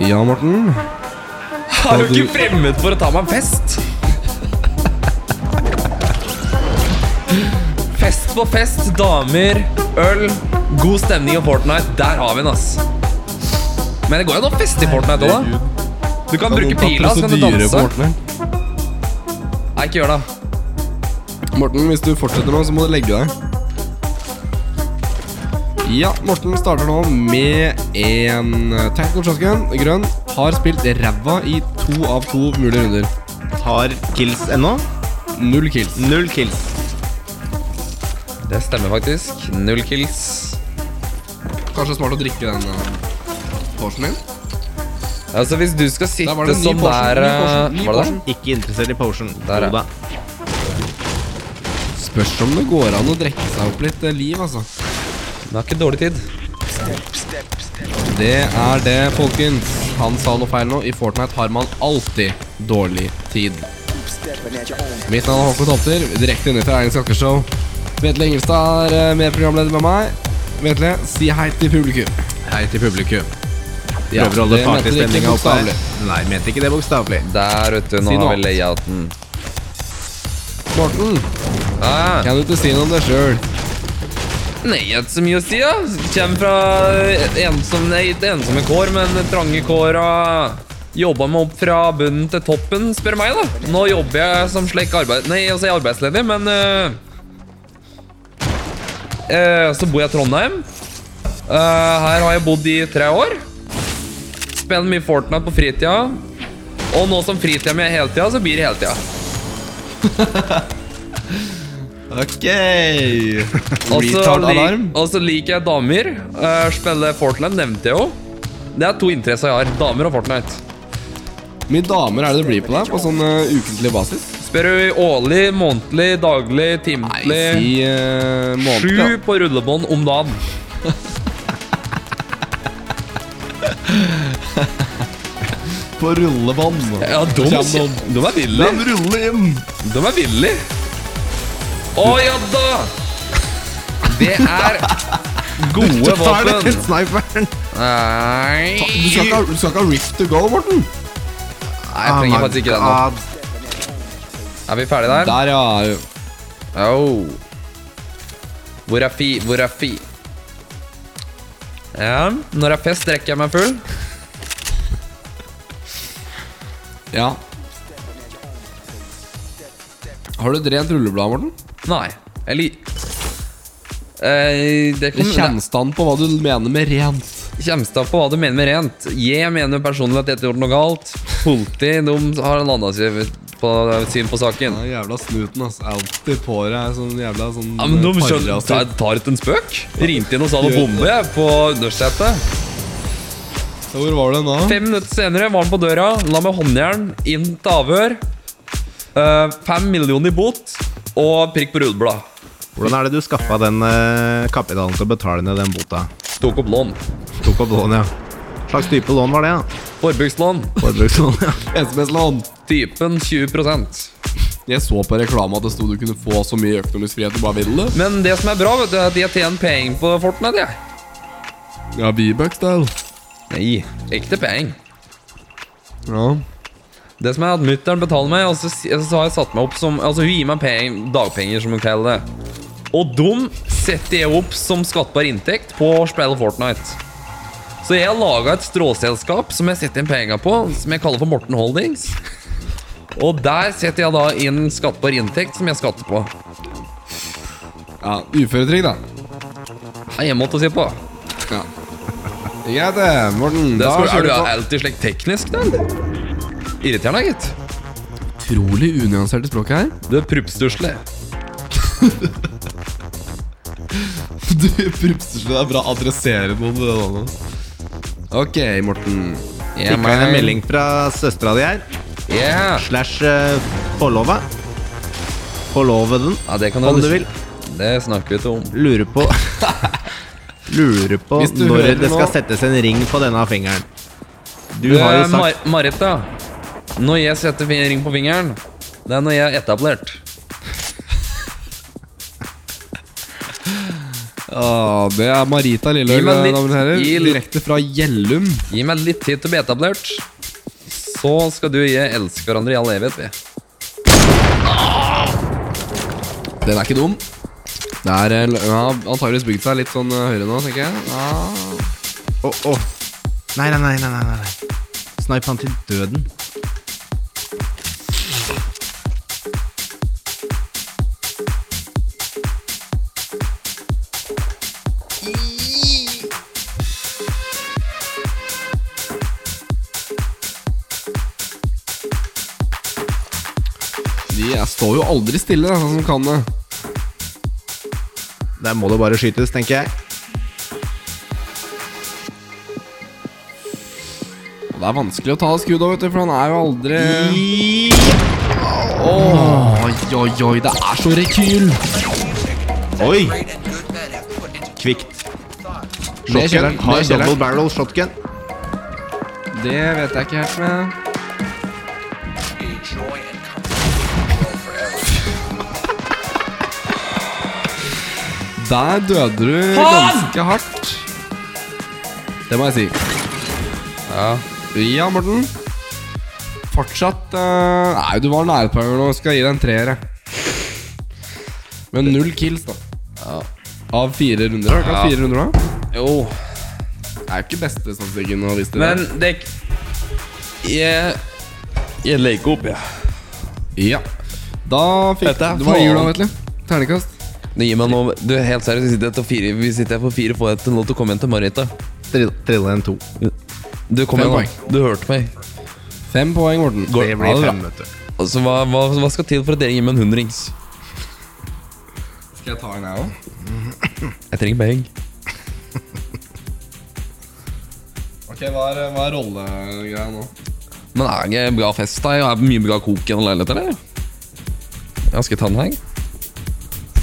Ja, Morten. Er jo ikke fremmed for å ta meg en fest. Fest på fest, damer, øl, god stemning og Fortnite. Der har vi den, ass. Men det går jo an å feste i Fortnite òg, da. Du kan bruke pila, så kan du danse. Nei, ikke gjør det. Morten, hvis du fortsetter nå, så må du legge deg. Ja, Morten starter nå med en eh, Techno-kiosken. Grønn har spilt ræva i to av to mulige runder. Har kills ennå? Null kills. Null kills. Det stemmer faktisk. Null kills. Kanskje smart å drikke den eh, portionen din? Altså, hvis du skal sitte Der var det ny sånn portion, der ny eh, portion, ny Var det portion. det? Ikke interessert i potion. Der, ja. Jo da. Spørs om det går an å drikke seg opp litt eh, liv, altså. Den har ikke dårlig tid. Det er det, folkens. Han sa noe feil nå. I Fortnite har man alltid dårlig tid. Mitt navn er Håkon Topter, direkte inne fra Erlend Skakke Show. Vetle Ingelstad er eh, medprogramleder med meg. Vetle, si hei til publikum. Hei til publikum. Ja, Prøver å holde det mente du ikke partystemninga oppe her. bokstavelig. Nei, mente ikke det bokstavelig. Der, vet du. Nå Si noe har vi annet. layouten. Morten, Ah. kan du ikke si noe om deg sjøl? Nei, jeg har ikke så mye å si, da. Kjem fra eh, ensom, nei, ikke ensomme kår, men trange kår. Og jobba meg opp fra bunnen til toppen, spør meg, da. Nå jobber jeg som slik arbeid... Nei, altså, jeg er arbeidsledig, men eh, eh, Så bor jeg i Trondheim. Eh, her har jeg bodd i tre år. Spiller mye Fortnite på fritida. Og nå som fritida mi er heltida, så blir det heltida. Ok. Og så Retard lik- alarm. Og så liker jeg damer. Uh, spiller Fortnite, nevnte jeg jo. Det er to interesser jeg har. Damer og Fortnite. Hvor mye damer er det det blir på deg på sånn eh, ukentlig basis? Spør du årlig, månedlig, daglig, Nei, timelig si uh, måned. Sju på rullebånd om dagen. På rullebånd. Ja, de, de er ville. Den ruller inn. De er ville. Å ja da! Det er gode våpen. sniperen. Nei Du skal ikke ha- du skal ikke ha Rift to go, Morten? Nei, Ah, Jeg trenger faktisk ikke den nå. Er vi ferdige der? Der, ja. Au. Hvor er fi? Hvor er fi? Ja, når det er fest, drikker jeg meg full. Ja. Har du et rent rulleblad, Morten? Nei. Eller eh, Det Det kommer kjennes an på hva du mener med rent. kjems da på hva du mener med rent. Jeg mener personlig at dette gjorde noe galt. Politiet de har en annen syn på, syn på saken. Den jævla snuten ass, er alltid på deg sånn jævla sånn Ja, men de eh, skjønner, parre, ass. tar, tar ut en spøk? Ringte inn og sa noe bombe jeg, på undersetet. Hvor var det nå? Fem minutter senere var han på døra, la meg håndjern, inn til avhør. Eh, fem millioner i bot og prikk på rullebladet. Hvordan er det du skaffa den eh, kapitalen til å betale ned den bota? Tok opp lån. Tok opp lån, ja. Hva slags type lån var det? ja? Forbrukslån. Forbrukslån, ja. SMS-lån. Typen 20 Jeg så på reklama at det sto du kunne få så mye økonomisk frihet du bare ville. Men det som er bra, vet du, er at jeg tjener penger på Fortnite. jeg. Ja, V-bucks, da. Nei, ekte penger. Ja. Det som er at mutter'n betaler meg, og så, si- så har jeg satt meg opp som Altså, hun gir meg peng- dagpenger, som hun kaller det. Og dem setter jeg opp som skattbar inntekt på å spille Fortnite. Så jeg har laga et stråselskap som jeg setter inn penger på, som jeg kaller for Morten Holdings. Og der setter jeg da inn skattbar inntekt som jeg skatter på. ja Uføretrygd, da. Det er en måte å si på. Ja. Greit, det. Morten. Det da skal, er kjører du vi på. alltid slik teknisk, den? Irriterende, gitt. Utrolig unyansert i språket her. Du er pruppstusslig. Du prupser så det er bra å adressere noen med det da nå. Ok, Morten. Yeah, Fikk jeg en man. melding fra søstera di her. Yeah. Slash eh, forlova. Forloveden, Ja, det kan om du vil. Det snakker vi ikke om. Lurer på Lurer på Hvis du når hører det skal nå- settes en ring på denne fingeren. Du har jo Eh, sagt Mar Marit, da. Når jeg setter fin- ring på fingeren, det er når jeg er etablert. Ah, det er Marita Gi Lilleøl, meg litt- damer og herrer. gi litt- Direkte fra Gjellum. Gi meg litt tid til å bli etablert. Så skal du og jeg elske hverandre i all evighet, vi. Den er ikke dum. Det er eh, l- ja, antageligvis bygd seg litt sånn eh, høyere nå, tenker jeg. Ah. Å, å. Nei, nei, nei, nei, nei, nei, nei. Snipe han til døden. De er- står jo aldri stille, da, sånn som kan det. Der må det bare skytes, tenker jeg. Og det er vanskelig å ta skudda, vet du, for han er jo aldri Oi, oi, oi, det er så rekyl! Oi! Kvikt. Ned i Shotgun kjelleren, ned har i kjelleren. double barrel shotgun. Det vet jeg ikke helt med. Der døde du ganske hardt. Det må jeg si. Ja. Ja, Morten. Fortsatt eh, Nei, du var nære på en gang nå. Skal jeg gi deg en treer, jeg. Men null kills, da. Ja. Av fire runder. Har du ikke hatt Ja. fire runder, da? Jo. Det er jo ikke beste statistikken å vise til. Men det Jeg Jeg legger opp, jeg. Ja. Da fikk Dette er du Hva gir du da, faen. Vetle? Ternekast? Det gir meg noe Du, helt seriøst, vi sitter etter fire Vi sitter her for fire Får jeg til lov til å komme inn til Marita Trill- Trille en to. Du kom Fem igjen da Du hørte meg Fem poeng, Morten. Går- Det Ja, blir det er fem, vet du. Altså, hva, hva, hva skal til for at dere gir meg en hundrings? Skal jeg ta en, jeg òg? Jeg trenger penger Ok, hva er, hva er rollegreia nå? Men er det ikke bra fest da? Er det mye bra kok i en leilighet, eller? Ja, skal jeg ta den her?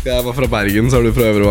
Jeg var fra Bergen, så er du fra Øvre